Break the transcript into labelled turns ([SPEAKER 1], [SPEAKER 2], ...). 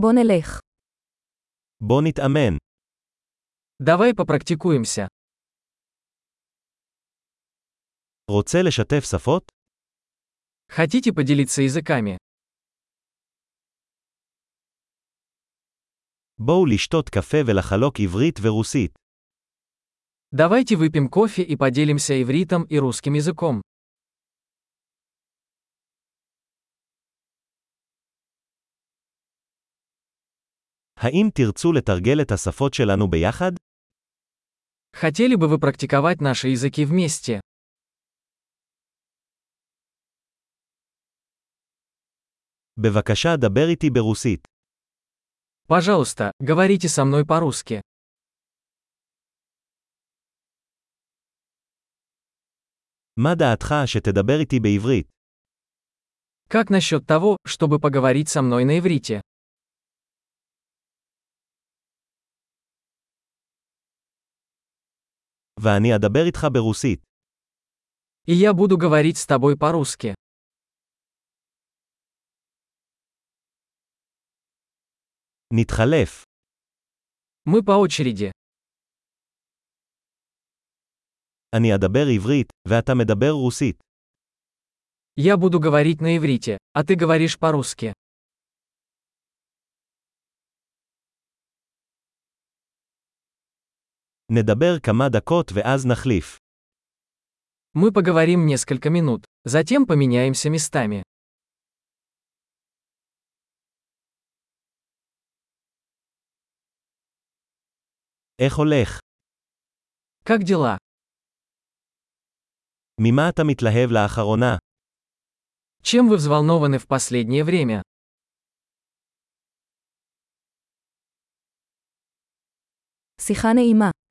[SPEAKER 1] בוא נלך.
[SPEAKER 2] בוא נתאמן.
[SPEAKER 3] Давай попрактикуемся.
[SPEAKER 2] רוצה לשתף שפות?
[SPEAKER 3] Хотите поделиться языками?
[SPEAKER 2] בואו לשתות קפה ולחלוק עברית ורוסית.
[SPEAKER 3] Давайте выпьем кофе и поделимся ивритом и русским языком.
[SPEAKER 2] האם תרצו לתרגל את השפות שלנו ביחד?
[SPEAKER 3] Хотели бы вы практиковать наши языки вместе?
[SPEAKER 2] בבקשה דבר איתי ברוסית.
[SPEAKER 3] Пожалуйста, говорите со мной по-русски.
[SPEAKER 2] מה דעתך שתדבר איתי בעברית?
[SPEAKER 3] Как насчет того, чтобы поговорить со мной на иврите?
[SPEAKER 2] ואני אדבר איתך ברוסית.
[SPEAKER 3] И я буду говорить с тобой по-русски.
[SPEAKER 2] נתחלף.
[SPEAKER 3] Мы по очереди.
[SPEAKER 2] אני אדבר עברית, ואתה מדבר רוסית.
[SPEAKER 3] Я буду говорить на иврите, а ты говоришь по-русски.
[SPEAKER 2] נדבר כמה דקות ואז נחליף.
[SPEAKER 3] Мы поговорим несколько минут, затем поменяемся местами.
[SPEAKER 2] איך הולך?
[SPEAKER 3] Как дела?
[SPEAKER 2] ממה אתה מתלהב לאחרונה?
[SPEAKER 3] Чем вы взволнованы в последнее время?
[SPEAKER 1] שיחה נעימה.